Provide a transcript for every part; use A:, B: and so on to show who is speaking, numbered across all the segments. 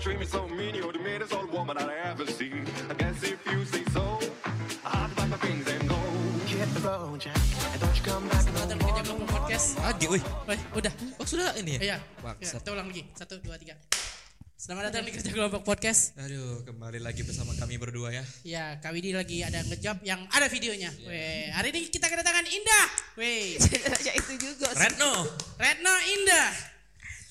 A: treat me so mean. You're the meanest old woman I ever seen. I guess if you say so, I'll pack my things and go. Hit the road, Jack, and don't you come back no
B: Ntar
A: more,
B: kita
A: no
B: belum
A: more.
B: podcast.
C: Lagi, wih.
B: Weh, udah.
C: Oh sudah ini ya?
B: Iya. Ya,
C: Bangsat.
B: kita ulang lagi. Satu, dua, tiga. Selamat datang di kerja kelompok podcast.
C: Aduh, kembali lagi bersama kami berdua ya.
B: Ya, Kak Widi lagi ada ngejawab yang ada videonya.
C: Iya.
B: Weh, hari ini kita kedatangan Indah. Weh,
D: ya itu juga sih.
C: Retno.
B: Retno Indah.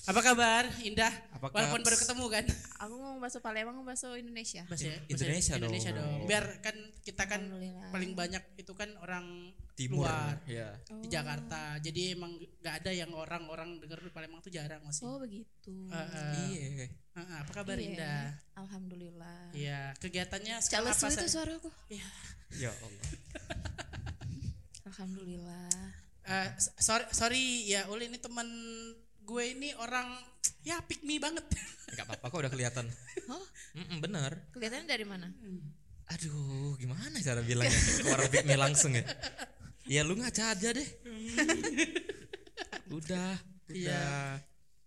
B: Apa kabar, Indah?
C: Apa
B: Walaupun
C: kabar?
B: baru ketemu kan.
D: aku ngomong bahasa Palembang ngomong bahasa Indonesia
B: Bahasa- bahasa
C: Indonesia dong. Iya.
B: Indonesia dong. Biar kan kita kan
D: Alhamdulillah.
B: paling banyak itu kan orang
C: Timur.
B: luar
C: Ya.
D: Oh.
B: di Jakarta. Jadi emang gak ada yang orang-orang denger di Palembang tuh jarang masih.
D: oh begitu
B: Eh, eh,
C: Iya.
B: eh, eh, apa kabar
D: Iya.
B: Indah?
D: alhamdulillah
B: Iya, kegiatannya sekarang
D: Cales
B: apa
D: itu
B: San?
D: suara aku
B: Iya.
C: Ya Allah.
D: alhamdulillah
B: Eh, s- sorry, sorry ya Uli ini temen gue ini orang ya pick me banget.
C: Enggak apa-apa kok udah kelihatan.
D: Hah?
C: Mm-mm, bener.
D: kelihatannya dari mana
C: Aduh, gimana cara bilangnya? Keluar ya, pick me langsung ya. Ya lu ngaca aja deh. udah,
B: Iya.
C: udah.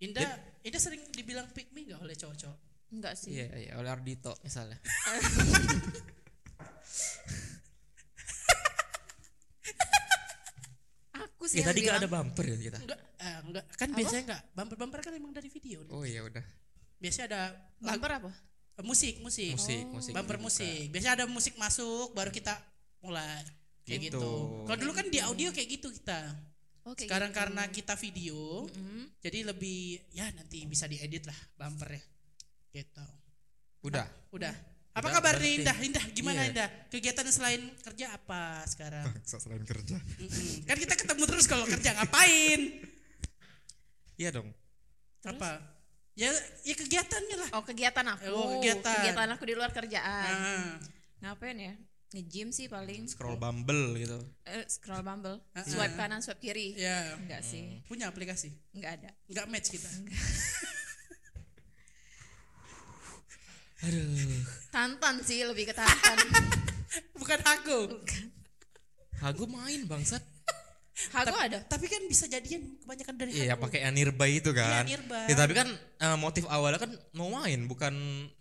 B: Indah, Indah sering dibilang pick me gak oleh cowok-cowok?
D: enggak sih
C: Iya, iya, oleh Ardito misalnya.
D: aku sih
C: Ya
D: yang
C: tadi
D: bilang
C: gak ada bumper ya kita.
B: Enggak, eh, enggak. Kan biasanya enggak. Bumper-bumper kan emang dari video.
C: Oh iya udah.
B: Biasanya ada lagu
D: bumper apa
B: eh, musik, musik.
C: Musik, musik.
B: Bumper musik. Biasanya ada musik masuk baru kita mulai. Kayak
C: Gitu.
B: gitu. Kalau dulu kan di audio kayak gitu kita.
D: oke
B: Sekarang karena kita video, jadi lebih ya nanti bisa diedit lah bumper ya. Gitu.
C: Udah.
B: Udah. Apa
C: Hmm. Udah,
B: kabar
C: udah
B: nih
C: nanti.
B: Indah? Indah gimana
C: Iya.
B: Indah? Kegiatan selain kerja apa sekarang?
C: Selain kerja.
B: Mm-mm. Kan kita ketemu terus kalau kerja ngapain?
C: Iya dong.
B: Apa? Ya ya kegiatannya lah.
D: oh kegiatan aku
B: Oh, kegiatan.
D: aku di luar kerjaan
B: Ah.
D: ngapain ya nge-gym sih paling
C: Mm, Scroll Bumble gitu.
D: Eh, scroll bumble
B: Ah,
D: swipe
B: ah.
D: kanan swipe kiri
B: Ya,
D: enggak sih
B: punya aplikasi.
D: enggak ada
B: Enggak match kita.
C: Aduh.
D: tantan sih lebih ke tantan
B: Bukan aku.
C: Hago main bangsat.
D: aku ada
B: Tapi kan bisa jadian kebanyakan dari
C: Iya
B: aku.
C: pakai yang nearby itu kan.
B: Iya, nearby.
C: Ya, tapi kan eh, motif awalnya kan mau main bukan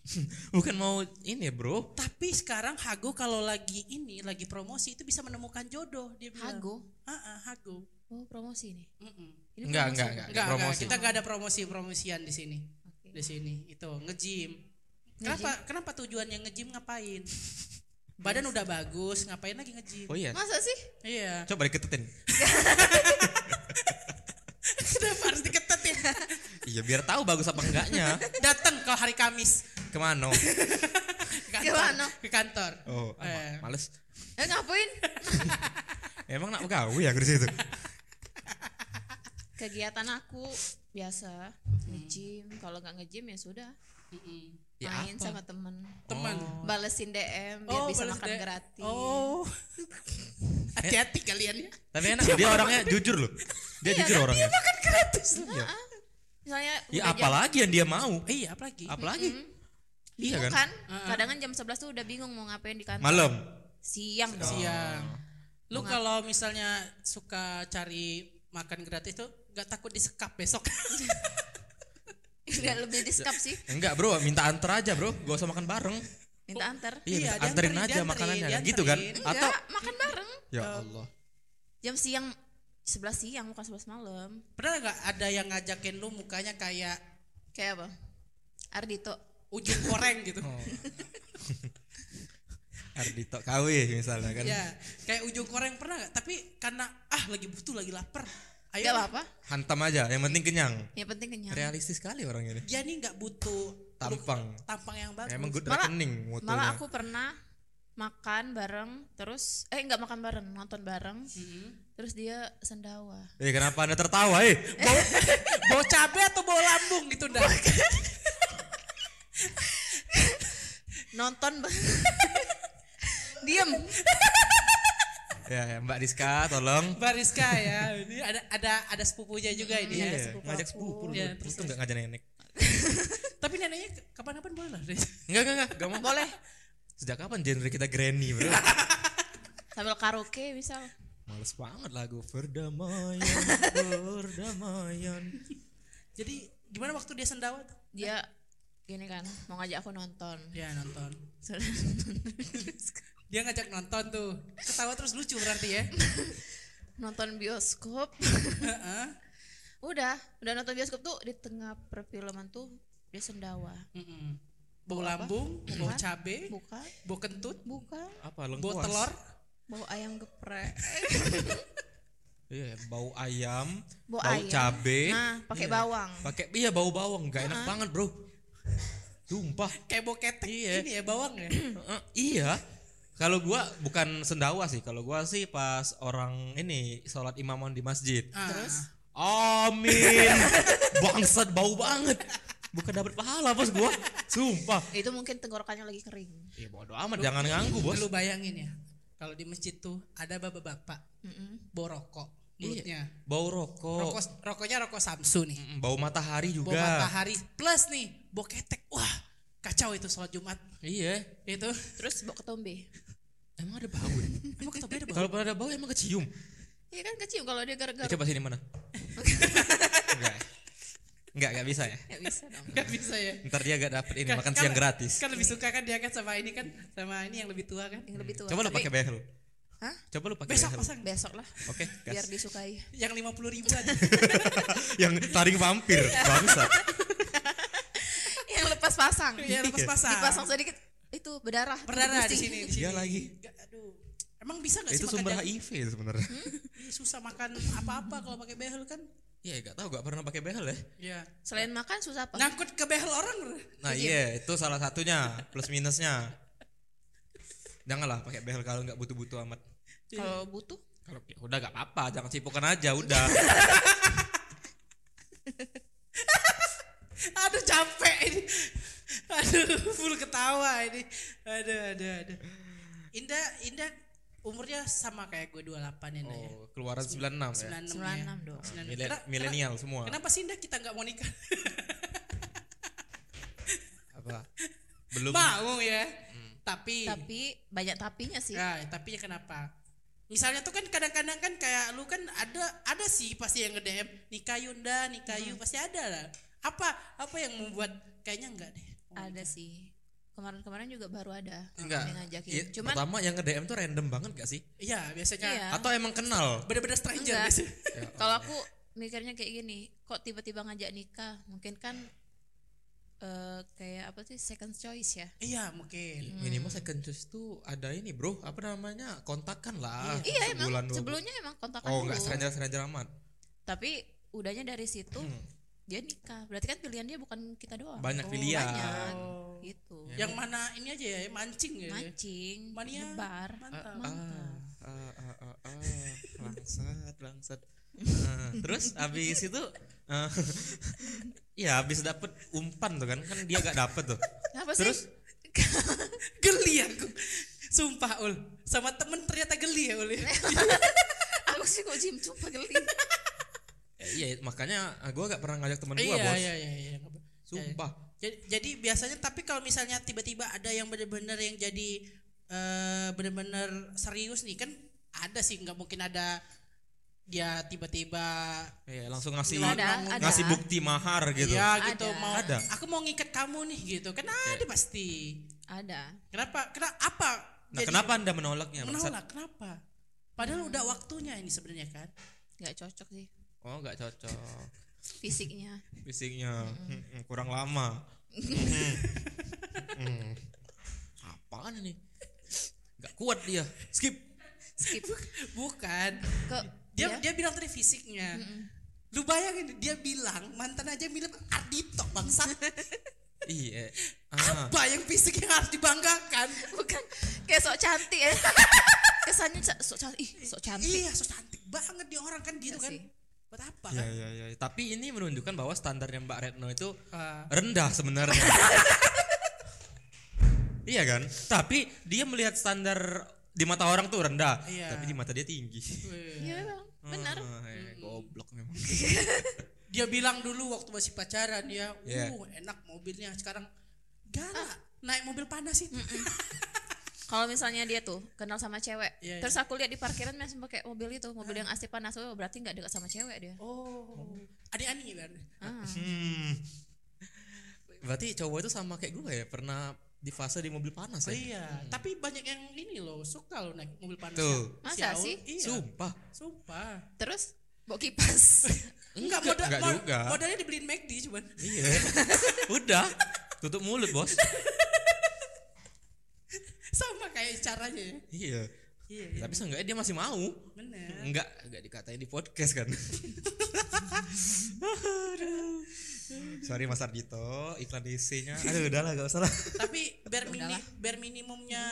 C: bukan mau ini bro.
B: Tapi sekarang Hago kalau lagi ini lagi promosi itu bisa menemukan jodoh dia bilang.
D: hago
B: Ah, ah, Hago.
D: oh promosi nih
B: Mm-mm.
D: Ini
C: Enggak, enggak,
D: promosi.
C: enggak.
B: Enggak, enggak,
C: promosi.
B: kita enggak ada promosi-promosian di sini.
D: Oke.
B: Di sini itu nge-gym. Kenapa kenapa tujuannya nge-gym ngapain? Badan udah bagus, ngapain lagi nge-gym?
C: Oh iya.
D: masa sih
B: Iya.
C: Coba diketetin.
B: Kenapa harus diketetin?
C: iya biar tahu bagus apa enggaknya.
B: Datang kalau hari Kamis
C: Kemana?
B: ke kantor.
D: Gimana?
B: Ke kantor.
C: Oh, ah,
B: Eh.
C: ma- males.
D: eh ngapain
C: Emang nak gawe ya di situ.
D: kegiatan aku biasa nge-gym kalau nggak nge-gym ya sudah
B: Mm-mm.
C: Ya
D: main
C: apa?
D: sama temen
B: Teman.
C: Oh.
D: balesin DM biar bisa
B: Oh, balas
D: makan
B: deh.
D: gratis
B: Oh. Hati-hati kalian ya.
C: Tapi enak dia orangnya jujur loh. Dia jujur orangnya.
B: Makan gratis.
C: Iya.
D: misalnya
C: Ya
D: udah jam
C: apalagi yang dia mau.
B: Eh, iya, apalagi?
C: Apalagi? Iya
D: bingung
C: kan?
D: kan kadang kan jam 11 tuh udah bingung mau ngapain di kantor
C: Malam.
D: siang dong.
B: siang. Lu kalau misalnya suka cari makan gratis tuh gak takut disekap besok.
D: udah lebih diskap
C: Ya.
D: sih
C: Enggak, Bro, minta antar aja, Bro. Gak usah makan bareng.
D: minta antar
C: Iya,
B: Iya,
C: minta
B: dianterin,
C: anterin aja
B: dianterin,
C: makanannya.
B: dianterin.
C: Gitu kan?
D: enggak
C: Atau
D: makan bareng
C: Ya Allah.
D: jam siang 11 siang bukan 11 malam
B: Pernah gak ada yang ngajakin lu mukanya kayak
D: kayak apa Ardito
B: ujung koreng gitu?
C: Oh, Ardito KW misalnya kan.
B: Ya, kayak ujung koreng pernah gak? Tapi karena ah lagi butuh, lagi lapar. Ayo,
C: Iya.
D: Gak apa-apa
C: Hantam aja, yang penting kenyang.
D: yang penting kenyang
C: Realistis sekali orang ini.
B: dia nih gak butuh
C: Tampang.
B: tampang yang bagus.
C: Emang good
D: Malah-
C: rekening mutunya.
D: Malah aku pernah makan bareng terus eh nggak makan bareng nonton bareng terus dia sendawa
C: Eh kenapa anda tertawa eh?
B: Bau, bau cabai atau bau lambung gitu dah.
D: nonton ba- diem
C: ya, ya, Mbak Diska tolong.
B: Bariska ya, ini ada ada ada sepupunya juga ini. ya.
C: Iya, ngajak sepupu.
B: Iya,
C: Iya,
B: terus-
C: Untung gak ngajak nenek.
B: Tapi neneknya ke- kapan-kapan boleh lah. Des.
C: Enggak, enggak, enggak, enggak mau. Boleh. Sejak kapan genre kita granny, Bro?
D: sambil karaoke misal
C: Males banget lagu Perdamaian, Perdamaian.
B: Jadi gimana waktu dia sendawa? tuh?
D: dia gini kan mau ngajak aku nonton
B: Ya nonton.
D: Sudah nonton terus.
B: Dia ngajak nonton tuh. Ketawa terus lucu berarti ya.
D: nonton bioskop
B: Heeh.
D: udah udah nonton bioskop tuh di tengah perfilman tuh dia sendawa
B: Mm-mm. Bau lambung,
D: Bukan.
B: bau cabe,
D: buka
B: bau kentut,
D: buka
C: apa
B: bau
C: lengkuas
B: telur.
D: bau ayam geprek
C: iya bau ayam
D: Bau
C: bau,
D: ayam.
C: cabe
D: nah pakai
C: Iya.
D: bawang
C: pakai iya bau bawang nggak enak banget bro sumpah
B: Kayak bau ketek
C: Iya.
B: ini ya bawang ya.
C: Heeh, iya kalau gua bukan sendawa sih kalau gua sih pas orang ini sholat imaman di masjid
B: Terus?
C: amin bangsat bau banget bukan dapat pahala bos gua sumpah
D: itu mungkin tenggorokannya lagi kering
C: ya bodo amat jangan nganggu bos
B: Lu bayangin ya. Kalau di masjid tuh ada bapak-bapak
D: Mm-mm.
B: bau rokok
C: Iya.
B: mulutnya.
C: bau rokok
B: Rokok, rokoknya rokok Samsu nih.
C: Oh. Mm, bau matahari
B: Bau
C: juga
B: matahari plus nih bau ketek. Wah, kacau itu sholat Jumat.
C: iya
B: Itu
D: terus bau ketombe
C: emang ada bau ya?
B: emang ketemu ada bau.
C: kalau pernah ada bau emang kecium
D: Iya kan kecium kalau
C: Ya,
D: dia gara-gara
C: coba sini mana enggak enggak enggak bisa ya
D: nggak bisa dong
B: Gak bisa ya.
C: ntar dia gak dapet ini makan
B: Kan-
C: siang
B: kan-
C: gratis Iya.
B: Kan lebih suka kan dia kan sama ini kan sama ini yang lebih tua kan.
D: yang lebih tua
C: Coba lu
D: Tapi
C: pakai behel.
D: Hah?
C: Coba lu pakai
B: Besok
C: behel.
B: pasang
D: besok lah
C: Oke,
D: biar
C: gas.
D: disukai
B: yang 50 ribuan.
C: Yang taring vampir, bangsa.
D: yang lepas pasang
B: ya
C: Iya,
B: lepas pasang.
D: dipasang sedikit itu berdarah
B: Berdarah di
D: Pusing.
B: sini, di sini.
C: Dia Iya lagi.
B: Nggak, aduh. Emang bisa gak sih
C: Itu
B: makan
C: sumber
B: jagung?
C: HIV itu sebenarnya.
B: Ih, Susah makan apa-apa kalau pakai behel kan?
C: Iya, enggak tahu enggak pernah pakai behel ya.
B: Ya.
D: selain makan susah apa
B: Ngangkut ke behel orang. bro.
C: Nah, iya, itu salah satunya plus minusnya. Janganlah pakai behel kalau nggak butuh-butuh amat.
D: kalau butuh
C: Kalau ya udah nggak apa-apa, jangan cipokan aja udah.
B: Aduh capek ini. Aduh full ketawa ini. Aduh aduh aduh. Indah Indah umurnya sama kayak gue 28 ya. Indah ya.
C: Oh, keluaran 96 ya.
B: 96 ya.
D: 96 dong.
B: 96.
C: Mile-
B: Kena-
C: Milenial semua.
B: Kenapa sih Indah kita nggak mau nikah?
C: Apa? Belum
B: mau ya. Tapi
C: Iya.
D: tapi banyak tapinya sih
B: ya, tapi ya kenapa? Misalnya tuh kan kadang-kadang kan kayak lu kan ada ada sih pasti yang nge-DM nikah Yunda, nikah Yu pasti ada lah. Apa apa yang membuat kayaknya enggak deh. Oh, gitu.
D: ada sih kemarin-kemarin juga baru ada
C: enggak.
D: yang ngajakin
C: Iya,
D: cuman
C: pertama yang nge-DM tuh random banget gak sih?
B: Iya, biasanya
D: Iya.
C: Atau emang kenal?
B: bener-bener stranger
D: Enggak.
B: biasanya.
C: Ya,
D: kalau aku mikirnya kayak gini kok tiba-tiba ngajak nikah mungkin kan eh kayak apa sih second choice ya
B: Iya, mungkin.
C: Minimal second choice tuh ada ini bro, apa namanya kontakan lah.
D: iya emang
C: sebulan, dua bulan.
D: sebelumnya emang kontakan
C: Oh
D: dulu
C: nggak stranger stranger amat.
D: tapi udahnya dari situ dia nikah berarti kan pilihan dia bukan kita doang
C: Banyak
D: Oh,
C: pilihan.
D: banyak. gitu
B: Yang mana ini aja ya, mancing ya.
D: mancing
B: Iya, Mania.
D: nyebar
B: Mantap.
D: mantap
C: Ah, ah, ah, ah, langsat langsat. Ah, terus habis itu, ah, ya habis dapet umpan tuh kan, kan dia gak dapet tuh.
D: Kenapa
C: Terus?
D: sih
B: Geli aku. Sumpah Ul, sama temen ternyata geli ya Ul. ya.
D: aku sih kok jim cuma geli
C: Eh, Iya makanya ah, gua gak pernah ngajak temen gua
B: iya,
C: bos.
B: iya, iya, iya.
C: Sumpah.
B: Jadi, jadi biasanya tapi kalau misalnya tiba-tiba ada yang benar-benar yang jadi eh, benar-benar serius nih kan ada sih nggak mungkin ada dia tiba-tiba
C: Iya, langsung ngasih
D: Ada, ada.
C: ngasih bukti mahar gitu.
B: ya gitu
D: Ada.
B: mau
C: Ada. Nah,
B: aku mau ngikat kamu nih gitu kan ada pasti
D: ada
B: kenapa kenapa apa
C: Nah
B: jadi
C: kenapa Iya, anda menolaknya? Bangsat?
B: menolak kenapa padahal udah waktunya ini sebenarnya kan
D: nggak cocok sih
C: Oh nggak cocok.
D: fisiknya
C: fisiknya Mm-mm, kurang lama Mm-mm. Mm. apaan ini kan? nggak kuat dia skip
D: skip
B: bukan
D: ke
B: dia
D: ya,
B: dia bilang tadi fisiknya lu bayangin dia bilang mantan aja bilang Ardito bangsat
C: iya ah
B: apa yang fisik yang harus dibanggakan
D: bukan kayak sok cantik ya kesannya ca- sok cantik ih sok cantik
B: iya so cantik banget dia orang kan gitu
D: Iya
B: kan
D: sih.
B: buat apa
C: ya
B: kan
C: ya ya tapi ini menunjukkan bahwa standarnya Mbak Retno itu
B: Ah.
C: rendah sebenarnya iya kan tapi dia melihat standar di mata orang tuh rendah
B: Iya.
C: tapi di mata dia tinggi
D: iya memang benar
C: Ah, iya, goblok memang
B: dia bilang dulu waktu masih pacaran ya
C: Iya.
B: uh enak mobilnya sekarang galak naik mobil panas itu
D: kalau misalnya dia tuh kenal sama cewek
B: Iya,
D: terus aku lihat di parkiran masih pakai mobil itu mobil yang asli panas oh berarti nggak dekat sama cewek dia
B: oh ani ani kan
D: Ah.
C: Hmm. berarti cowok itu sama kayak gue ya pernah di fase di mobil panas
B: Oh
C: ya
B: iya, tapi banyak yang ini loh suka loh naik mobil panas.
C: Tuh.
B: Si
D: Masa
B: Aul-
D: sih?
B: Iya.
C: sumpah
B: Sumpah.
D: Terus bawa kipas.
B: Enggak, modal,
C: enggak
B: mod-
C: juga.
B: modalnya dibeliin McD cuman.
C: iya udah tutup mulut bos
B: Sama kayak caranya ya.
C: iya
B: Iya, iya.
C: tapi seenggaknya dia masih mau
B: Bener.
C: enggak enggak dikatain di podcast kan Aduh. sorry Mas Arjito iklan isinya aduh udahlah gak usah lah
B: tapi bare, mini,
D: Udahlah.
B: bare minimumnya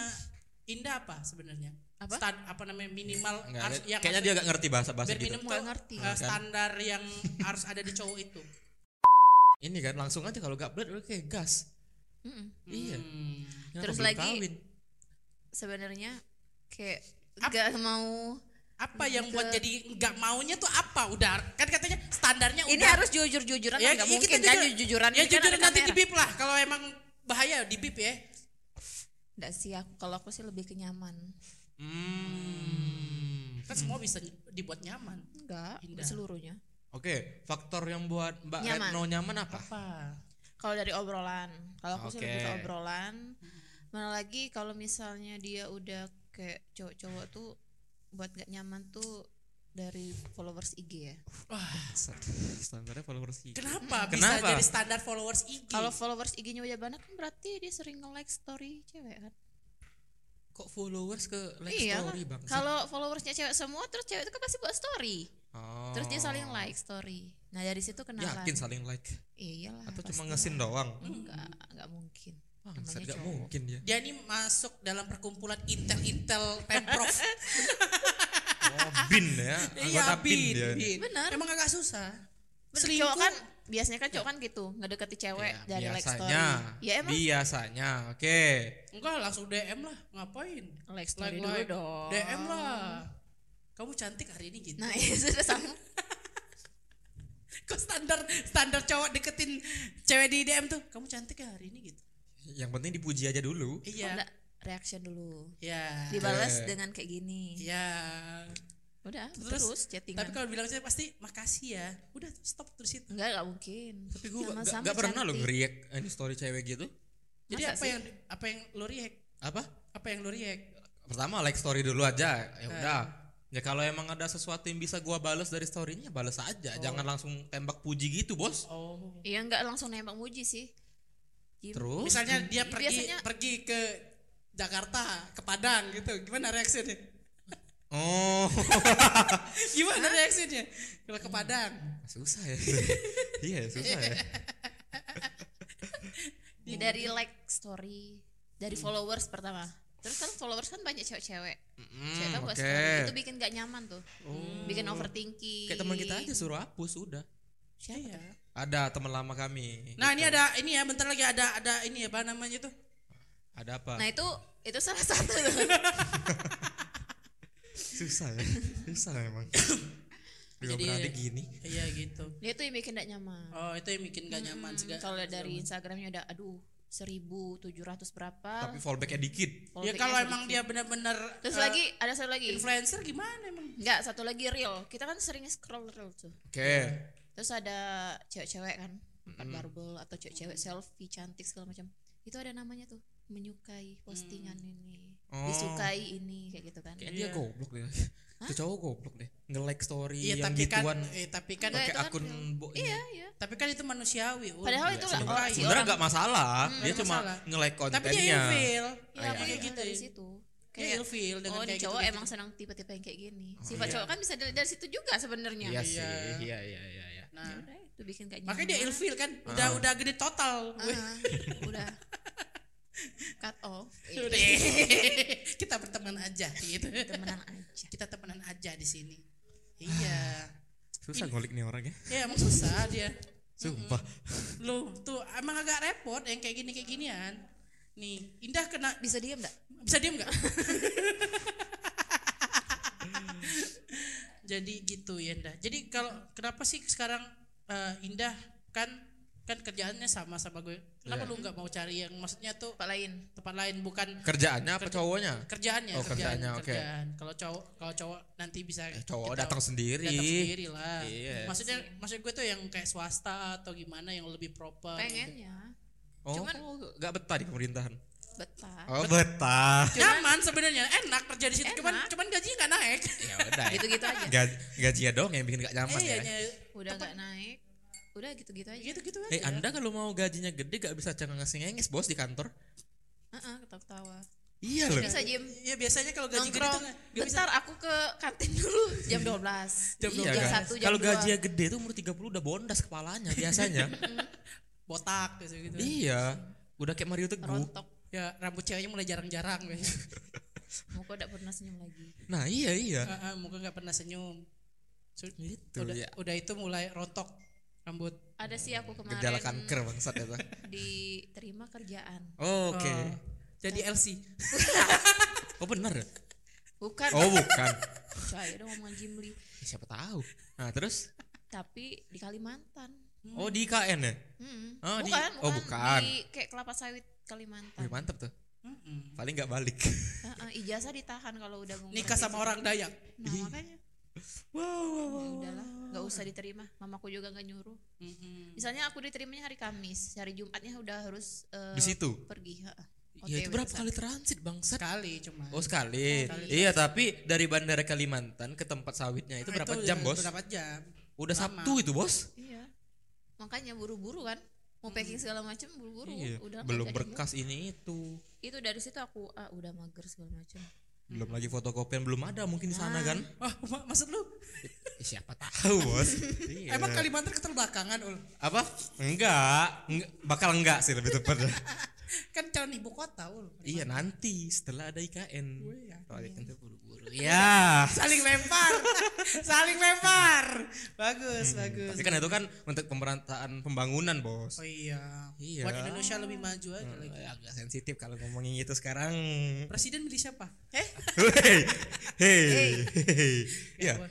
B: Indah apa sebenarnya?
D: Apa?
B: Stan- apa namanya minimal
C: Enggak,
B: harus-
D: ya,
B: yang
C: kayaknya dia
B: harus-
C: gak ngerti bahasa bahasa
B: bare
C: gitu
B: minimum
D: Nggak
B: tuh,
D: ngerti.
B: eh,
C: Kan?
B: standar yang harus ada di cowok itu.
C: ini kan langsung aja kalau gak berat kayak gas
D: Mm-mm.
C: Iya.
B: Hmm.
C: Kenapa
D: Terus
C: belum
D: lagi-
C: kawin?
D: Sebenarnya kayak
B: Ap-
D: nggak mau.
B: Apa yang buat
D: Ke-
B: jadi nggak maunya tuh apa? Udah kan katanya standarnya
D: Ini
B: udah.
D: harus jujur-jujuran
B: Ya,
D: nggak
B: iya,
D: mungkin
B: kita
D: kan
B: jujur.
D: jujuran
B: ya
D: ini kan
B: jujur
D: ada
B: nanti
D: kamera.
B: di bip lah kalau emang bahaya di bip ya.
D: Nggak sih aku kalau aku sih lebih kenyaman.
C: Hmm.
B: Kan semua bisa dibuat nyaman.
D: Enggak,
B: Indah.
D: seluruhnya.
C: Oke, faktor yang buat Mbak
D: Nyaman.
C: Retno nyaman apa?
B: Apa?
D: Kalau dari obrolan, kalau aku sih lebih ke
C: Oke.
D: obrolan. Mana lagi kalau misalnya dia udah kayak cowok-cowok tuh buat gak nyaman tuh dari followers IG ya.
C: Standarnya followers IG.
B: Kenapa, bisa
C: Kenapa?
B: jadi standar followers IG?
D: Kalau followers IG-nya udah banyak kan berarti dia sering nge-like story cewek kan.
C: Kok followers ke like
D: iya.
C: story
D: kan?
C: bang?
D: Kalau followersnya cewek semua terus cewek itu kan pasti buat story.
C: Oh.
D: Terus dia saling like story. Nah, dari situ kenalan.
C: Yakin saling like?
D: Iyalah.
C: Atau cuma
D: pastilah.
C: ngesin doang?
D: Enggak, enggak mungkin.
C: Bangsat,
D: Iya, Namanya
C: gak
D: cowok.
C: mungkin ya.
B: dia ini masuk dalam perkumpulan intel-intel pemprov. Iya,
C: Oh, bin ya.
D: Iya,
C: Anggota bin, dia.
D: Benar.
B: Emang agak susah.
D: Bener,
B: Selingkuh
D: cowok kan biasanya kan cowok kan gitu ngedeketi cewek
C: Ya,
D: dari like story
C: biasanya.
D: ya emang
C: Biasanya. Oke.
B: Enggak langsung DM lah, ngapain?
D: like
B: Like,
D: story dulu
B: like.
D: dong
B: DM lah. Kamu cantik hari ini gitu.
D: nah itu sudah sama
B: Kok standar standar cowok deketin cewek di DM tuh, kamu cantik ya hari ini gitu.
C: Yang penting dipuji aja dulu.
D: Oh,
B: Iya.
D: enggak, reaction dulu
B: Iya.
D: dibalas
C: Oke.
D: dengan kayak gini
B: Iya.
D: udah
B: Terus,
D: terus, chattingan
B: Tapi kalau bilang saya pasti makasih ya. Udah stop terus itu.
D: enggak enggak mungkin
C: Tapi gue gak,
D: Sama-sama
C: gak pernah loh
D: cantik.
C: ngeriak ini story cewek gitu.
B: Jadi
D: Masa
B: apa
D: sih?
B: yang apa yang lo react?
C: Apa?
B: Apa yang lo react?
C: Pertama like story dulu aja. Ya
D: Eh.
C: udah. Ya kalau emang ada sesuatu yang bisa gua balas dari storynya balas aja.
D: Oh.
C: Jangan langsung tembak puji gitu, Bos.
B: Oh.
D: iya enggak langsung nembak muji sih Gim-
C: Terus
B: Misalnya dia pergi
D: Biasanya-
B: pergi ke Jakarta, ke Padang gitu. Gimana reaksinya?
C: Oh,
B: Gimana reaksinya? Kalau ke Padang,
C: susah ya. iya, susah ya.
B: Iya,
D: Ini dari like story dari
B: Hmm.
D: followers pertama terus kan followers kan banyak cewek-cewek cewek
B: Hmm,
D: kan
C: Mm,
D: buat
C: Oke.
D: story itu bikin gak nyaman tuh
B: Oh.
D: bikin overthinking
C: Kayak teman kita aja suruh hapus udah.
D: siapa
B: Iya.
D: tuh?
C: Ada teman lama kami.
B: Nah, ini ada ini ya, bentar lagi ada ada ini ya, apa namanya itu?
C: Ada apa?
D: nah itu itu salah satu tuh.
C: Susah ya. susah emang. Gak
B: Jadi-
C: berani gini.
B: Iya gitu.
D: Dia tuh yang bikin gak nyaman.
B: Oh, itu yang bikin gak nyaman
D: Hmm,
B: segala. Ya,
D: Kalau dari Instagramnya udah aduh 1700 berapa.
C: Tapi fallbacknya dikit.
B: Ya
D: followernya
B: kalau
D: sedikit.
B: emang dia benar-benar
D: Terus
B: eh,
D: lagi ada satu lagi.
B: influencer gimana emang?
D: Enggak, satu lagi real. Kita kan sering scroll real tuh.
C: Oke.
D: Terus ada cewek-cewek kan, empat barbel atau cewek-cewek selfie cantik segala macam. Itu ada namanya tuh, menyukai postingan
B: Hmm.
D: ini.
C: Oh.
D: Disukai ini kayak gitu kan.
C: Kayak
B: Iya.
C: dia goblok deh. Itu cowok goblok deh. Nge-like story
B: Iya,
C: yang
B: tapi kan
C: gituan.
B: eh, tapi kan
D: Enggak,
C: pakai
D: itu kan
C: akun
D: real.
C: bo- ini.
D: Iya, iya.
B: tapi kan itu manusiwi. Ul.
D: Padahal
B: Nggak
D: itu
B: sih,
D: lah
B: orang-
D: si
C: Sebenarnya
D: orang.
C: gak masalah. dia
B: nggak
C: cuma
B: masalah.
C: nge-like
B: Tapi dia
C: kontennya.
B: ilfil.
D: Iya,
B: Iya, kayak
D: makanya
B: gitu.
D: dari
B: ya.
D: situ.
B: Dia ilfil dengan
D: oh,
B: kayak gitu
D: ini cowok
B: gitu-gitu.
D: emang senang tipe-tipe yang kayak gini. Sifat cowok kan bisa dari, dari situ juga sebenarnya.
C: Iya
B: Iya.
C: sih. Iya, iya, iya, iya.
B: Nah,
D: Udah, itu bikin kayak
B: makanya dia ilfil kan. Udah
C: Ah.
B: udah gede total.
D: Ah.
B: Gue-
D: udah cut off.
B: Ya udah. kita berteman aja gitu.
D: Temenan aja.
B: Kita temenan aja di sini. Iya.
C: Susah ngolik nih orangnya.
B: Ya emang susah dia.
C: Sumpah.
B: Loh, tuh emang agak repot yang kayak gini kayak ginian. Nih, Indah kena
D: Bisa diam enggak?
B: bisa diam nggak? Jadi gitu ya Indah. Jadi kalau kenapa sih sekarang eh, Indah kan kan kerjaannya sama sama gue. Kenapa
C: Iya.
B: lu nggak mau cari yang maksudnya tuh
D: Tempat lain.
B: tempat lain bukan
C: Kerjaannya apa cowoknya?
B: kerjaannya
C: Oh, kerjaannya, oke.
B: kerjaan. kalau cowok kalau cowok nanti bisa
C: Eh, cowok
B: kita-
C: datang sendiri.
B: datang sendiri lah
C: Iya.
B: Oh, maksudnya maksud gue tuh yang kayak swasta atau gimana yang lebih proper gitu.
D: Pengennya.
C: Oh,
D: Cuman-
C: kok nggak betah di pemerintahan.
D: betah
C: Oh, betah.
B: Nyaman sebenarnya, enak kerja di situ. Cuman
D: Enak.
B: cuman gaji nggak naik.
C: ya udah. ya.
D: gitu-gitu aja
C: Gaji, gajinya dong yang bikin gak nyaman
B: Iya,
C: ya.
B: ny-
D: udah nggak naik udah gitu-gitu aja
B: gitu-gitu aja.
C: Eh, Anda kalau mau gajinya gede gak bisa cengang ngenges bos di kantor?
D: Heeh, ketawa-ketawa
C: Iya loh.
D: bisa jim
B: Iya biasanya kalau gaji gede tuh
D: nongkrong
B: nggak bisa.
D: bentar aku ke kantin dulu jam 12
C: Jam
D: Iya, jam satu jam
C: Kalau
D: dua.
C: gajinya gede tuh umur 30 udah bondas kepalanya biasanya.
B: botak gitu gitu.
C: iya. Udah kayak Mario Teguh.
D: rontok
B: Ya rambut ceweknya mulai jarang-jarang.
D: muka udah pernah senyum lagi
C: Nah, iya iya.
B: Heeh, muka nggak pernah senyum. Su-
C: Gitu
B: udah,
C: ya.
B: udah itu mulai rontok rambut.
D: ada sih aku
C: Gejala
D: kemarin
C: kanker bangsat ya. Bang.
D: diterima kerjaan
C: Oke.
B: Oh, jadi LC.
C: Oh benar ya?
D: bukan
C: Oh bukan. Ya,
D: saya udah ngomong Jimli
C: Siapa tahu. Nah terus?
D: tapi di Kalimantan
C: Oh di IKN ya?
D: Mm-mm.
C: Oh, di-
D: bukan,
C: oh, bukan.
D: di kayak kelapa sawit Kalimantan
C: Wih, mantep tuh.
B: Mm-mm.
C: Paling nggak balik.
D: Heeh, ijazah ditahan kalau udah mau
B: Nikah
D: kerja.
B: sama orang Dayak.
D: nah makanya
C: Wow. wow,
D: ya
C: wow.
D: udahlah nggak usah diterima mamaku juga nggak nyuruh
B: Mm-mm.
D: misalnya aku diterimanya hari Kamis hari Jumatnya udah harus eh,
C: Di situ?
D: pergi heeh.
C: Ya itu
D: OTW
C: berapa
D: ke
C: kali transit bangsat?
B: Sekali cuma.
C: Oh sekali. Iya tapi dari bandara Kalimantan ke tempat sawitnya Ah, itu berapa jam bos?
B: Nah, Berapa jam?
C: Udah
B: lama.
C: Sabtu itu bos.
D: Iya. Makanya buru-buru kan. Mau packing segala macam buru-buru.
C: Hmm. Iya.
D: Udah nggak
C: Belum
D: jadi mood.
C: berkas ini itu.
D: Itu dari situ aku ah, udah mager segala macam.
C: Belum lagi fotokopian belum ada mungkin di sana kan?
B: Wah, Oh, ma- maksud lu?
C: Eh, siapa tahu bos. Iya.
B: Emang Kalimantan keterbelakangan, Ul?
C: apa? Enggak. Enggak- Bakal enggak sih lebih tepat.
B: Kan calon ibu kota, Ul.
C: iya nanti setelah ada IKN.
B: Iya.
C: Kalau IKN tuh kan buru-buru. Ya.
B: Saling lempar. Saling lempar. Bagus, bagus.
C: Tapi kan itu kan untuk pemerataan pembangunan bos.
B: Oh iya.
C: Iya.
B: Buat Indonesia lebih maju aja lagi.
C: Eh, Agak sensitif kalau ngomongin itu sekarang.
B: Presiden milih siapa? Eh,
C: Hei, hei, hei. Ya,
B: gua-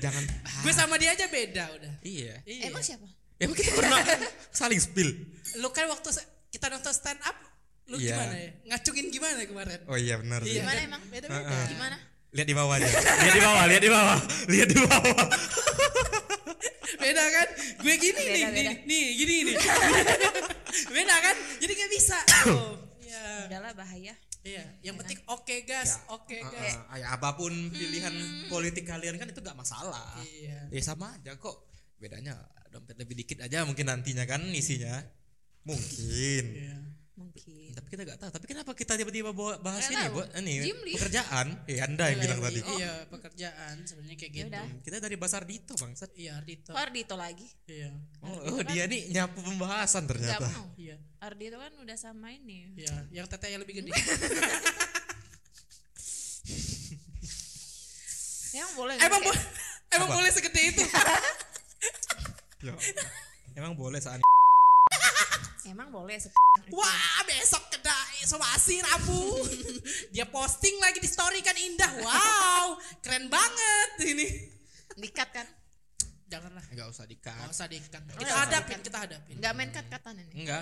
C: jangan.
B: gue sama dia aja beda udah.
C: Iya.
B: Iya.
D: Emang siapa?
C: Emang kita pernah saling spill.
B: lu kan waktu se- kita nonton stand up, lu
C: Iya.
B: gimana ya? Ngacungin gimana kemarin?
C: Oh iya benar. sih.
D: Gimana emang?
B: Beda-beda.
D: Gimana?
C: Lihat di bawah aja. Lihat di bawah, lihat di bawah, lihat di bawah.
B: beda kan gue gini nih,
D: Beda,
B: nih
D: beda.
B: nih gini nih beda kan jadi nggak bisa oh, iya
D: Udahlah bahaya.
B: iya yang penting oke gas oke Hmm. gas
C: Ya. Ah, ah, ya, apapun pilihan politik kalian kan itu gak masalah.
B: iya
C: Ya sama aja kok. Bedanya dompet lebih dikit aja mungkin nantinya kan isinya. Mungkin.
B: iya
D: Mungkin.
C: Tapi kita gak tahu. Tapi kenapa kita tiba-tiba bawa bahas ini,
D: Nggak tahu.
C: Bu? Ini
D: Jimli.
C: pekerjaan. Ya, Anda yang bilang tadi.
B: iya pekerjaan sebenarnya kayak gitu
D: Yaudah.
C: Kita dari Basar Dito, Bangsat.
B: iya Ardito
D: Oh, Ardito lagi.
B: iya
C: Oh, oh, dia nih nyapu pembahasan
D: Gak
C: ternyata.
D: mau.
B: iya
D: Ardito kan udah sama ini.
B: iya yang tete yang lebih gede
D: Ya, Emang boleh nggak
B: emang
D: kayak-
B: bo- emang
C: Apa?
B: boleh segede itu
C: Ya. Emang boleh saat
D: Emang boleh se-
B: wah besok kedai somasi rabu dia posting lagi di story kan indah wow keren banget ini
D: dikat kan?
B: janganlah
C: Enggak usah dikat.
B: Gak usah diikat.
D: Nggak
B: Kita
D: usah
B: hadapin,
D: diikat.
B: kita ya. hadapin.
D: Nggak main kat katan ini.
C: Enggak.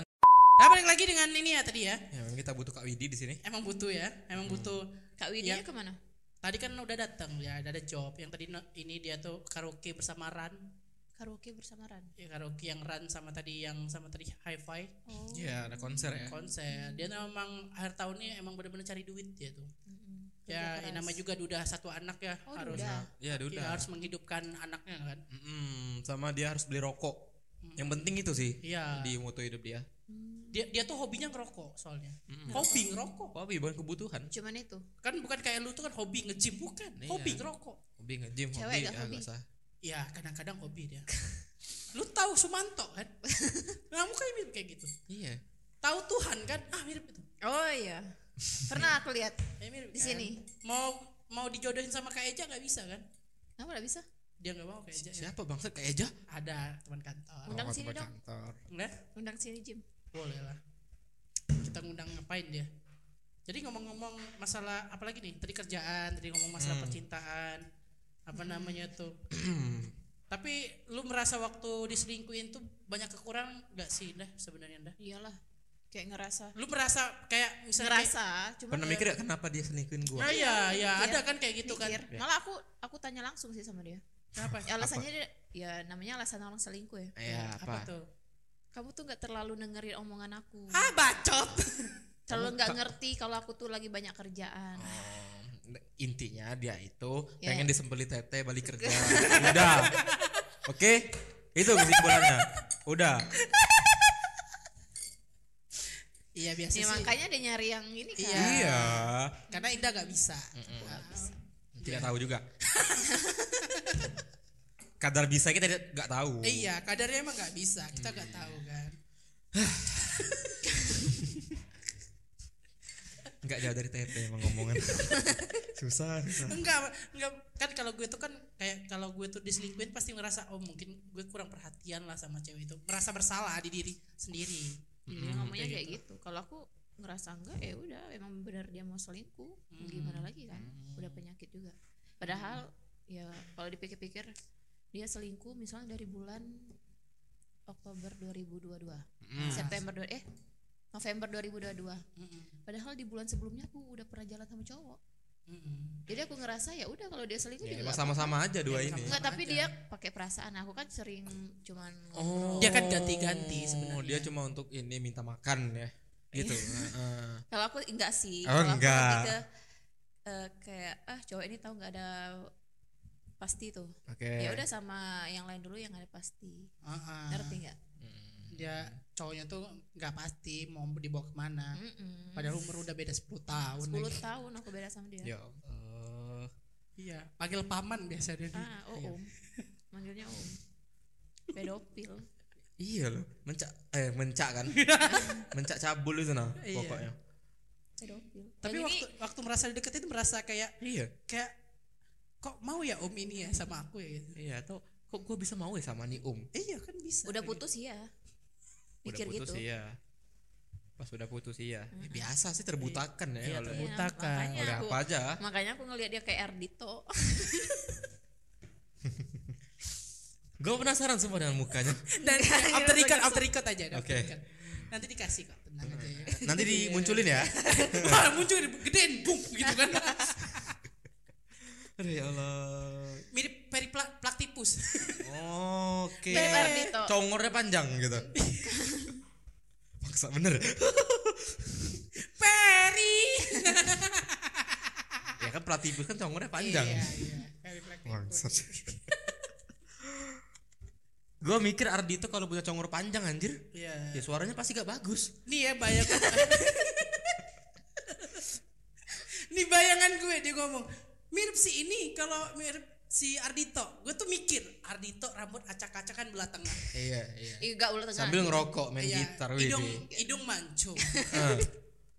B: Nah, balik lagi dengan ini ya tadi ya.
C: Ya, memang kita butuh Kak Widi di sini.
B: Emang butuh ya, emang
D: Hmm.
B: butuh.
D: Kak Widinya
B: Iya.
D: kemana?
B: Tadi kan udah datang ya, ada ada job. Yang tadi no- ini dia tuh karaoke bersama Ran.
D: Karaoke bersama Ran.
B: Ya, karaoke yang Ran sama tadi yang sama tadi Hi-Fi
D: Oh.
C: Iya, ada konser ya.
B: konser. Dia memang akhir tahunnya emang bener-bener cari duit dia tuh.
D: Mm-mm. Kerja
B: Ya,
D: keras.
B: ini nama juga duda satu anak ya
D: Oh,
B: harus.
D: duda.
C: Ya, udah.
B: Iya, harus menghidupkan anaknya kan.
C: Mm-mm, sama dia harus beli rokok. Yang penting itu sih
B: Iya.
C: di moto hidup dia.
B: Dia dia tuh hobinya ngerokok soalnya.
D: Hmm.
B: Hobi ngerokok.
C: Hobi bukan kebutuhan.
D: Cuman itu.
B: Kan bukan kayak lu tuh kan hobi nge-gym bukan.
C: Iya.
B: Hobi ngerokok.
C: Hobi nge-gym,
D: Cewek
C: hobi
D: nggak
C: ah,
D: hobi?
C: nggak usah.
B: Ya kadang-kadang hobi dia. Lu tahu Sumanto kan? Nah, mukanya mirip kayak gitu.
C: Iya.
B: Tahu Tuhan kan? Ah mirip itu.
D: Oh iya. Pernah aku lihat.
B: Eh, mirip
D: Di
B: kan?
D: sini.
B: Mau mau dijodohin sama Kak Eja nggak bisa kan?
D: Kenapa nggak bisa?
B: Dia nggak mau Kak Eja. ya.
C: Siapa bangsa kayak aja?
B: Ada teman kantor.
D: Undang
C: Oh,
D: sini
C: tempat
D: dong.
C: kantor.
B: Nah,
D: Undang sini Jim.
B: boleh lah. Kita ngundang ngapain dia? Jadi ngomong-ngomong masalah apalagi nih? Tadi kerjaan, tadi ngomong
D: Hmm.
B: masalah percintaan. Apa namanya tuh? Tapi lu merasa waktu diselingkuhin tuh banyak kekurangan nggak sih dah sebenarnya dah?
D: Iyalah. Kayak ngerasa.
B: Lu merasa kayak misalnya kayak-
D: Ngerasa. Cuman
C: Pernah mikir gak kenapa dia selingkuhin
B: Nah,
C: gua?
B: iya, iya,
D: Mikir.
B: ada kan kayak gitu
D: mikir.
C: Iya.
B: kan.
D: Iya. Malah aku aku tanya langsung sih sama dia.
B: Kenapa?
D: Ya, alasannya dia, ya namanya alasan orang selingkuh ya.
C: Iya,
B: apa?
C: apa?
B: tuh?
D: kamu tuh nggak terlalu dengerin omongan aku
B: ah bacot
D: terlalu nggak ngerti kalau aku tuh lagi banyak kerjaan
C: Oh, intinya dia itu
D: Ya.
C: pengen disembeli tete balik kerja udah oke itu kesimpulannya udah
B: iya biasa sih
D: ya, makanya dia nyari yang ini kan
B: Iya.
C: iya
B: karena Indah gak bisa Ah.
C: tidak tahu juga kadar bisa kita tidak- nggak tahu
B: Eh, iya kadarnya emang gak bisa kita gak tahu kan
C: nggak jauh dari tete emang ngomongan susah susah
B: enggak enggak kan kalau gue tuh kan kayak kalau gue tuh diselingkuhin pasti ngerasa oh mungkin gue kurang perhatian lah sama cewek itu merasa bersalah di diri sendiri
D: Iya, dia ngomongnya kayak gitu. Kalau aku ngerasa enggak ya udah emang benar dia mau selingkuh. Mau Gimana lagi kan? Udah penyakit juga. Padahal ya kalau dipikir-pikir dia selingkuh misalnya dari bulan Oktober 2022. September dua- eh November 2022.
B: Mm-mm.
D: Padahal di bulan sebelumnya aku udah pernah jalan sama cowok.
B: Mm-mm.
D: Jadi aku ngerasa ya udah kalau dia selingkuh
B: Iya.
C: ya,
D: juga
C: emang
D: nggak apa-apa.
C: sama-sama aja dua
B: Ya,
C: ini
D: Enggak, tapi
B: aja.
D: dia pakai perasaan. Aku kan sering cuman
C: oh
B: Dia kan ganti-ganti sebenarnya. Iya.
C: dia cuma untuk ini minta makan ya gitu Heeh.
D: Kalau aku enggak sih.
C: Oh,
D: Kalau aku
C: enggak.
D: lebih ke eh, kayak ah cowok ini tahu nggak ada pasti tuh.
C: oke Ah.
D: Ya udah sama yang lain dulu yang ada pasti.
B: Ah-ah.
D: Ngerti nggak?
C: Hmm.
B: dia cowoknya tuh nggak pasti mau dibawa kemana
D: Mm-mm.
B: padahal umur udah beda 10 tahun
D: 10
B: lagi.
D: tahun aku beda sama dia.
C: Ya Allah.
B: iya panggil paman biasa dia
D: Ah, oh
C: Iya.
D: om. Manggilnya om. Pedofil.
C: Iya loh, mencak eh mencak kan. mencak cabul itu nah
B: Iya.
C: pokoknya.
D: Pedofil.
B: tapi
D: Yang
B: waktu
D: ini
B: waktu merasa dideketin merasa kayak
C: Iya.
B: kayak kok mau ya om ini ya sama aku ya gitu.
C: Iya, tuh kok gue bisa mau ya sama nih Om?
B: Eh, iya kan bisa
D: udah
B: Kayak
D: putus ya.
C: Udah
D: Mikir
C: putus
D: gitu.
C: iya. Pas udah putus iya. Ya, biasa sih terbutakan ya
B: Iya,
C: kalau
D: Iya,
B: Butakan.
D: makanya
C: oleh
D: aku
C: apa aja.
D: makanya aku ngelihat dia kayak Ardito.
C: Gue penasaran semua dengan mukanya.
B: gitu. dan after record after record aja ada after
C: Oke. Hmm.
B: record. nanti dikasih kok tenang aja ya
C: Nanti dimunculin ya.
B: Wah, muncul gedein bung gitu kan
C: Aduh ya Allah.
B: mirip peri plak, plak tipus
C: Oke.
D: Mirip Ardito.
C: Congornya panjang gitu. Paksa bener.
B: peri
C: ya kan platibus kan congornya panjang.
B: iya, iya. peri plak tipus
C: Bangsat. gue mikir Ardi itu kalau punya congor panjang anjir,
B: iya
C: ya suaranya pasti gak bagus.
B: Nih ya bayangan Nih bayangan gue dia ngomong Mirip si ini kalau mirip si Ardito Gue tuh mikir Ardito rambut acak-acakan belah tengah
C: Iya, iya.
D: Ih, enggak ulah tengah.
C: Sambil ngerokok main
B: Iya,
C: gitar wih.
B: hidung, hidung mancung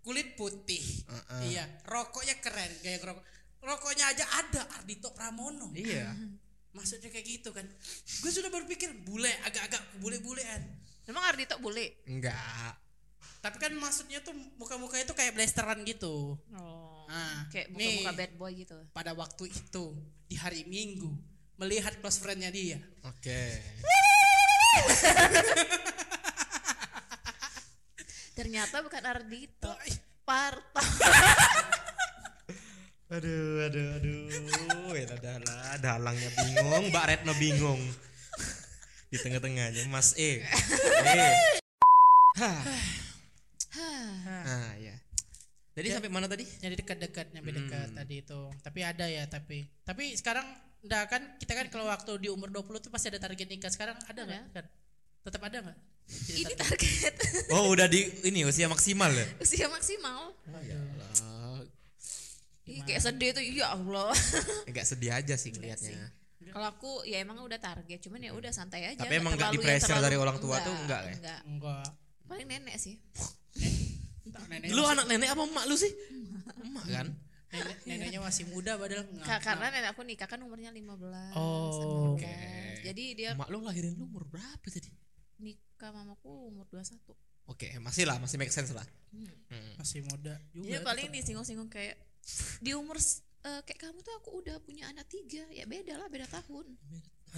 B: Kulit putih
C: Heeh.
B: Iya Rokoknya keren gaya ngerokok Rokoknya aja ada Ardito Pramono
C: Iya.
B: Maksudnya kayak gitu kan Gue sudah berpikir bule agak-agak bule-bulean
D: Emang Ardito boleh?
C: Enggak.
B: Tapi kan maksudnya tuh muka-muka itu kayak blasteran gitu
D: Oh.
B: Ah, nih.
D: Kayak muka-muka bad boy gitu.
B: pada waktu itu di hari Minggu melihat close friendnya dia.
C: Oke.
D: Ternyata bukan Ardito.
B: Wah, ih,
D: Parto.
C: Aduh, aduh, aduh. Ya adalah dalangnya bingung, Mbak Retno bingung. Di tengah-tengahnya Mas E. E. Hah. Ah, ya. Jadi sampai mana tadi?
B: Jadi dekat-dekat nyampe
C: Hmm.
B: dekat tadi itu. Tapi ada ya tapi tapi sekarang enggak kan kita kan kalau waktu di umur 20 tuh pasti ada target nikah. Sekarang ada nggak? Kan? Tetap ada nggak? Jadi
D: Ini
B: tar-
D: target
C: Oh, udah di ini usia maksimal ya.
D: usia maksimal.
C: Oh, iya. Alah,
D: Ih, kayak sedih tuh ya Allah.
C: Agak sedih aja sih kelihatannya.
D: Kalau aku ya emang udah target, cuman
B: Iya.
D: ya udah santai aja.
C: Tapi emang nggak
D: terlalu- ya
C: di-pressure
D: terlalu-
C: dari orang tua tuh nggak ya?
D: nggak.
B: enggak.
D: Paling nenek sih.
B: Entah, nenek,
C: Lu anak nenek apa emak lu sih? Emak kan?
B: nenek- neneknya masih muda padahal enggak.
D: Ka- Karena nenek aku nikah kan umurnya 15,
B: Nah, Oh,
D: 16.
B: oke.
D: Jadi dia
C: Emak lu lahirin lu umur berapa tadi?
D: nikah mamaku umur 21.
C: Oke, masih lah, masih make sense lah. Hmm.
B: masih muda juga.
D: Jadi paling
B: tetap.
D: disinggung-singgung kayak di umur s- eh, kayak kamu tuh aku udah punya anak tiga ya beda lah beda tahun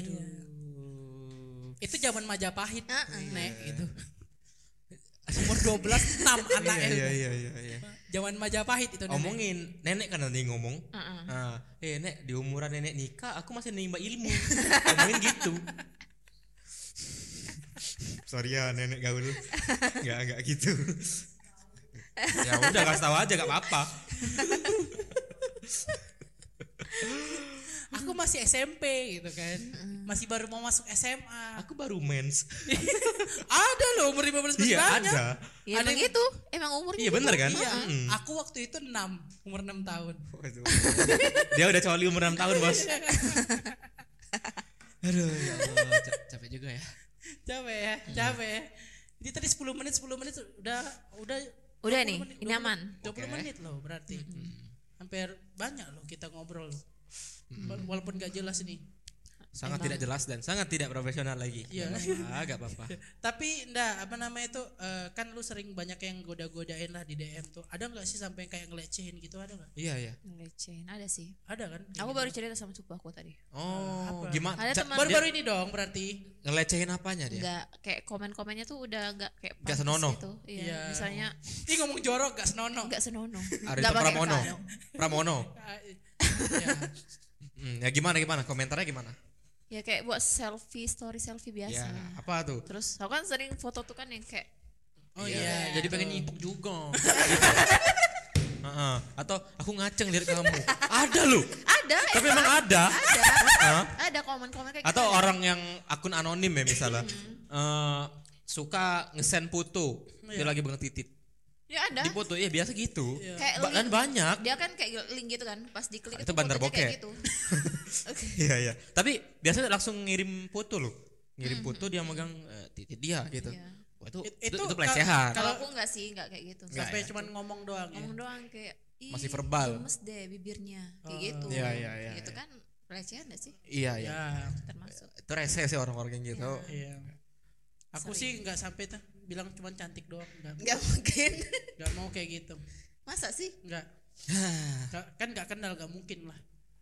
B: Aduh. Itu zaman Majapahit, Nek itu. Umur 12 enam
C: Iya,
B: anaknya.
C: iya, iya, iya, iya.
B: Zaman Majapahit itu nenek.
C: Omongin nenek kan nanti ngomong.
D: Heeh.
C: Ah, eh nek di umuran nenek nikah aku masih nimba ilmu. Ngomongin gitu. sorry ya nenek gaul nggak nggak gitu ya udah kasih tahu aja gak apa-apa
B: aku masih SMP gitu kan masih baru mau masuk SMA
C: aku baru mens
B: ada loh umur 15 masih
C: iya
B: banyak
C: ada
D: Ya,
B: Ada
D: emang
B: yang-
D: itu emang umurnya
C: iya
D: gitu.
C: bener kan
B: iya
C: Mm.
B: aku waktu itu 6 umur 6 tahun
C: Waduh. dia udah coli umur 6 tahun bos aduh ya Allah, ca- capek juga ya
B: capek ya capek ya jadi tadi 10 menit 10 menit udah udah
D: Udah
B: 20
D: nih,
B: menit,
D: ini
B: 20
D: aman.
B: 20
C: Oke.
B: menit loh berarti hampir banyak loh kita ngobrol loh Wala- walaupun gak jelas ini
C: sangat tidak jelas dan sangat tidak profesional lagi
B: Iya.
C: Gak gak apa-apa
B: tapi ndak apa namanya itu eh, kan lu sering banyak yang goda-godain lah di DM tuh ada nggak sih sampai kayak ngelecehin gitu ada nggak
C: iya iya
D: Ngelecehin, ada sih.
B: ada kan
D: Aku baru cerita sama sepupu aku tadi.
C: oh
B: Apa?
C: gimana
D: Ada
C: Ca-
D: teman-
C: dia
B: baru-baru ini dong berarti
C: ngelecehin apanya dia
D: Enggak kayak komen-komennya tuh udah enggak
C: Iya.
D: kayak
C: Nggak
D: pantas
C: senonoh.
D: gitu. Iya,
B: Iya.
D: misalnya
B: ini ngomong jorok gak senonoh
D: enggak senono.
C: Arito Pramono Pramono
B: Ah, ya.
C: Hmm, ya gimana gimana komentarnya gimana
D: Ya kayak buat selfie, story selfie
C: ya
D: biasa.
C: apa tuh
D: Terus aku kan sering foto tuh kan yang kayak
B: oh
C: Iya,
B: iya
C: jadi pengen nyipuk juga. Heeh. Atau aku ngaceng lihat kamu. ada lu.
D: ada
C: Tapi
D: emang
C: emang ada. Heeh.
D: ada komen-komen kayak gitu.
C: Atau orang yang akun anonim ya misalnya. Eh, suka ngesend foto dia lagi banget titit.
D: ya ada. Iya.
C: Di foto ya biasa gitu.
D: Kayak
C: Ba- Dan
D: link.
C: banyak.
D: Dia kan kayak link gitu kan, pas diklik
C: Itu bandar
D: fotonya kayak
C: bokeh.
D: Gitu.
C: Iya iya. Tapi biasanya langsung ngirim foto lu. Ngirim foto dia megang eh, titit dia gitu.
D: Iya.
C: Wah, itu,
B: It-
C: itu,
B: itu
C: itu
B: kal-
C: pelecehan.
D: Kalau
B: Kalau-
D: aku enggak sih, enggak kayak gitu.
C: Enggak.
B: sampai
C: ya.
B: cuman ngomong doang ya
D: Ngomong doang kayak "Ih,
C: Masih verbal.
D: gemes deh bibirnya kayak gitu.
C: Iya, iya, iya,
D: Itu
C: iya.
D: kan pelecehan enggak sih?
C: iya iya.
B: ya
D: Termasuk.
C: Itu rese sih orang-orang yang gitu.
B: iya aku sih nggak sampai tuh bilang cuman cantik doang nggak
D: Enggak mungkin.
B: nggak mau kayak gitu
D: Masa sih?
B: nggak Nggak- kan nggak kenal nggak mungkin lah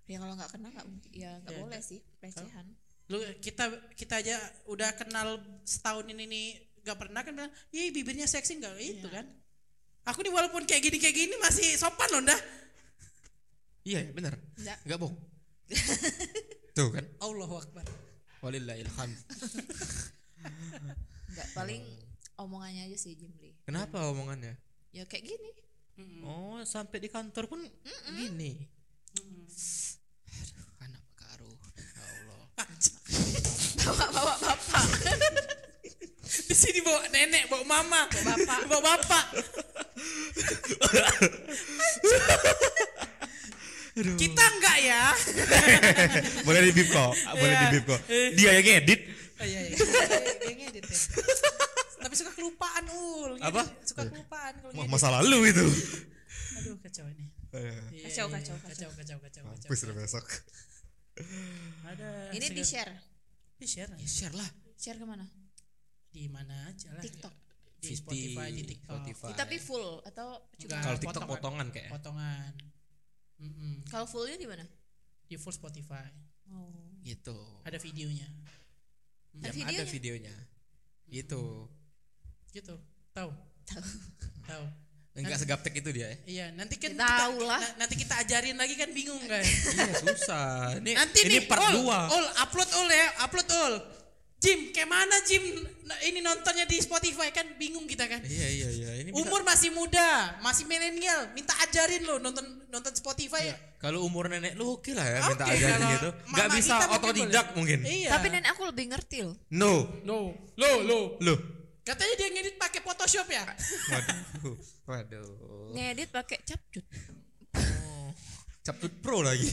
D: Ya kalau nggak kenal nggak mungkin. Ya nggak
B: Ya,
D: boleh sih pelecehan.
B: lu kita kita aja udah kenal setahun ini nih nggak pernah kan bilang ih bibirnya seksi nggak itu
D: Iya.
B: kan aku nih walaupun kayak gini kayak gini masih sopan loh dah
C: Iya, iya, benar.
D: Enggak.
C: Enggak bohong. Tuh kan.
B: Allahu Akbar
C: Walillahil hamd.
D: Nggak paling omongannya aja sih Jimli.
C: Kenapa omongannya?
D: Ya kayak gini.
C: Oh, sampai di kantor pun gini. Aduh, anak karu. Ya Allah.
D: Bawa bapak.
B: di sini bawa nenek bawa mama bawa bapak bawa bapak kita enggak ya
C: boleh di bip kok, Ah, boleh di bip kok. Dia yang edit.
B: oh, iya, iya. Dia ngedit ya. tapi suka kelupaan ul Ngedit,
C: Apa?
B: suka kelupaan kalau
C: Wah,
B: ngedit.
C: masa lalu itu.
B: aduh kacau ini Iya,
D: Kacau,
B: iya,
D: kacau,
B: kacau kacau kacau kacau
C: udah besok.
B: ada
D: Ini di
B: segala-
D: share.
B: di share
C: Ya share lah.
D: Share kemana?
B: di mana aja lah
D: TikTok.
B: di Spotify di TikTok
C: Spotify. ya.
D: Tapi full atau
B: Enggak.
D: cuma?
C: Kalau TikTok
B: Potongan.
C: potongan kayak.
B: potongan Mm-mm.
D: Kalau fullnya di mana?
B: di full Spotify
D: Oh.
C: Gitu.
B: ada videonya
C: Yang
D: videonya.
C: ada videonya. Gitu.
B: gitu tahu
D: Tahu.
B: tahu
C: Enggak segaptek itu dia ya.
B: iya nanti kan
D: Ya, tahu
B: kita-
D: lah.
B: na- nanti kita ajarin lagi kan bingung kan
C: Iya, susah. Ini
B: nanti
C: ini
B: nih
C: part
B: Ul,
C: 2.
B: Ul, upload ul ya upload ul Jim kayak mana Jim Nah, ini nontonnya di Spotify kan bingung kita kan
C: Iya, iya, iya. Ini bisa-
B: umur masih muda masih milenial minta ajarin lo nonton nonton Spotify
C: Kalau umur nenek lu oke lah
B: Oke,
C: ya Iya, minta ajarin
B: kalau
C: gitu.
B: mama
C: Gak bisa
B: kita mungkin
C: otodidak
B: boleh.
C: mungkin.
B: iya
D: Tapi nenek aku lebih ngerti loh.
C: No.
B: lo lo lo
C: Lu.
B: Katanya dia ngedit pakai Photoshop ya?
C: Waduh. Waduh.
D: Ngedit pakai capcut.
C: Capcut Pro lagi.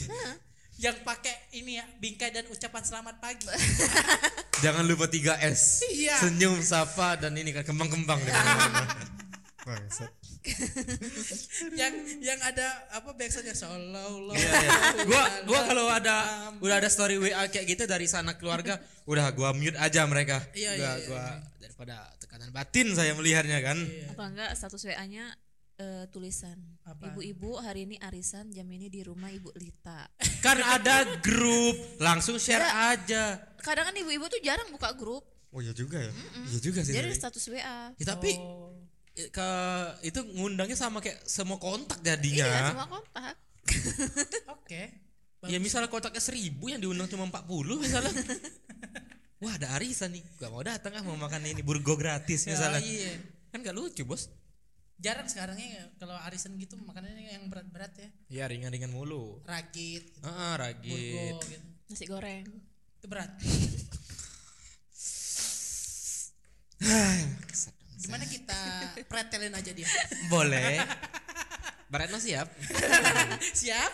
B: Yang pakai ini ya, bingkai dan ucapan selamat pagi.
C: Jangan lupa 3S.
B: Iya.
C: Senyum, sapa dan ini kan kembang-kembang di mana-mana. Bangsat.
B: yang yang ada apa biasanya solo
C: Iya, iya. Gua gua kalau ada udah ada story WA kayak gitu dari sana keluarga, udah gua mute aja mereka.
B: Iya,
C: Gua-
B: iya, iya.
C: gua daripada tekanan batin saya melihatnya kan.
D: Atau enggak status WA-nya eh, tulisan.
B: Apaan?
D: Ibu-ibu hari ini arisan jam ini di rumah Ibu Lita.
C: Kan ada grup, langsung share
B: Iya.
C: aja.
D: Kadang kan ibu-ibu tuh jarang buka grup.
C: Oh iya juga ya. Iya juga sih.
D: Jadi
C: tapi-
D: status WA.
C: Ya, tapi
B: Oh.
C: i- ke itu ngundangnya sama kayak semua kontak jadinya.
D: Iya, semua kontak.
B: Oke.
C: ya misalnya kontaknya seribu yang diundang cuma 40 misalnya. wah ada arisan nih gak mau datang ah mau makan ini burgo gratis
B: Ya,
C: misalnya
B: iya.
C: kan gak lucu bos
B: Jarang sekarang ya kalau arisan gitu makanannya yang berat-berat ya.
C: ya ringan-ringan mulu
B: Rakit,
C: ah ah, ragit
B: burgo gitu.
D: nasi goreng
B: Itu berat. Gimana kita pretelin aja dia?
C: boleh Baretno siap
B: Siap?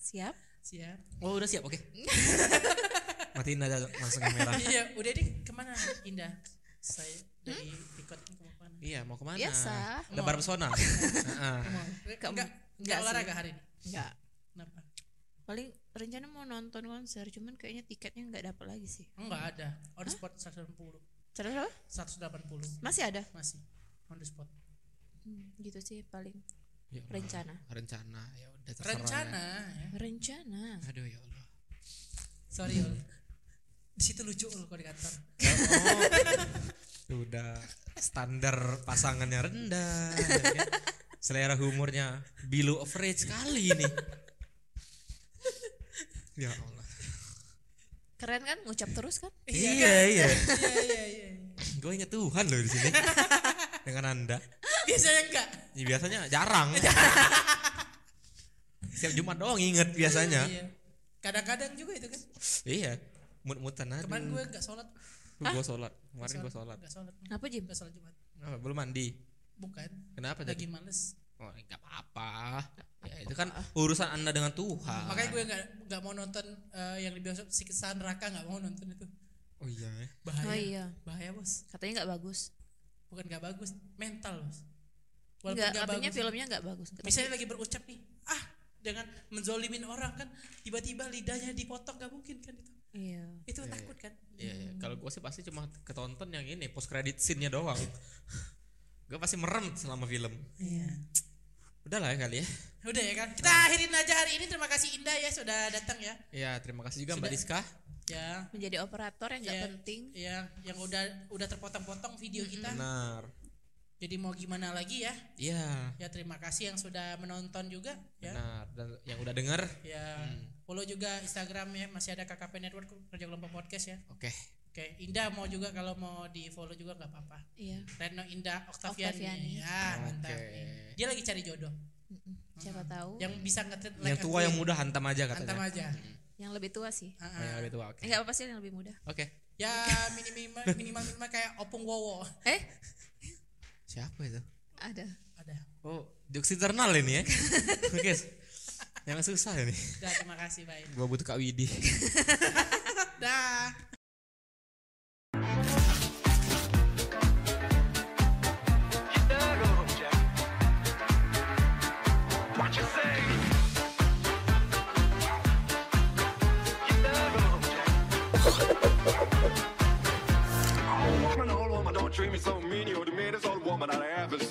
D: siap
B: Siap.
C: oh udah siap oke matiin aja langsung kamera
B: Iya, udah deh kemana Indah? Saya
C: Hmm?
B: dari ikut mau kemana?
C: iya mau kemana
D: Biasa.
C: lebar pesona Ah, ah.
B: Enggak,
D: Ke-
B: enggak
D: enggak sih.
B: olahraga hari ini.
D: nggak
B: Kenapa?
D: paling rencana mau nonton konser cuman kayaknya tiketnya nggak dapat lagi sih
B: Enggak ada. On the spot 180.
D: terus apa?
B: 180
D: masih ada
B: masih on the spot.
D: Hmm, gitu sih paling
C: Ya Allah.
D: rencana
C: rencana ya udah terserah ya.
B: Rencana ya.
D: rencana
C: aduh ya Allah
B: Sorry, Ol. Di situ lucu Ol kalau di kantor.
C: Oh. Itu udah standar pasangannya rendah ya kan? selera humornya below average sekali ini ya Allah
D: keren kan ngucap terus kan
C: iya
B: Iya,
C: iya,
B: iya, iya.
C: gue inget Tuhan loh di sini dengan anda
B: Biasanya enggak.
C: Ya, biasanya jarang setiap Jumat doang inget biasanya
B: Iya. Kadang-kadang juga itu kan.
C: iya mut-mutan aduh
B: Kemarin gue enggak sholat.
C: gue sholat kemarin gue sholat
B: Enggak sholat.
D: apa Jim?
B: Enggak sholat Jumat.
C: Apa, belum mandi
B: Bukan.
C: kenapa jadi
B: Lagi males.
C: Oh, enggak apa-apa. Ya, itu kan urusan Anda dengan Tuhan.
B: Makanya gue enggak enggak mau nonton eh, yang dibiasa siksa neraka enggak mau nonton itu.
C: Oh iya. ya.
B: Bahaya.
D: Oh iya.
B: Bahaya, Bos.
D: katanya nggak bagus
B: Bukan enggak bagus, mental, Bos.
D: nggak
B: nggak
D: katanya
B: bagus.
D: filmnya nggak bagus Katanya-
B: misalnya lagi berucap nih ah dengan menzolimin orang kan tiba-tiba lidahnya dipotong gak mungkin kan itu
D: iya
B: itu takut kan
C: Iya, iya. kalau gue sih pasti cuma ketonton yang ini post credit scene-nya doang. gue pasti merem selama film.
D: iya
C: Udahlah ya kali ya.
B: udah ya kan kita akhirin aja hari ini terima kasih Indah ya sudah datang ya
C: Ya, terima kasih juga Mbak
B: Sudah.
C: Rizka.
B: ya
D: menjadi operator yang nggak
B: Iya.
D: penting
B: ya yang udah udah terpotong-potong video kita
C: Benar.
B: jadi mau gimana lagi ya
C: Iya.
B: ya terima kasih yang sudah menonton juga ya
C: Benar. Mm. Dan yang udah denger,
B: ya follow juga Instagram ya masih ada KKP Network kerja kelompok podcast ya
C: oke.
B: oke Indah mau juga kalau mau di follow juga nggak apa-apa
D: iya
B: Reno Indah Octaviani,
D: Octaviani.
B: ya mantap
C: Oke.
B: nih. dia lagi cari jodoh
D: Mm-mm. siapa tahu yang,
B: yang bisa ngetrend
C: yang tua yang muda hantam aja katanya.
B: antam ya. aja
D: lebih tua sih
B: Ah,
C: Oh, yang lebih tua, oke.
D: Eh, nggak apa-apa sih yang lebih muda
C: Oke.
B: ya minimal minimal minimal kayak opung wowo
D: eh
C: Siapa itu?
D: ada
B: ada
C: Oh, jokes internal ini ya. oke. Yang susah ini.
B: Udah, terima kasih bye
C: Gua butuh Kak Widi.
B: dah
A: What you say? You know, Jack. Oh, woman, oh, woman, don't treat me so mean. You're the meanest old woman I ever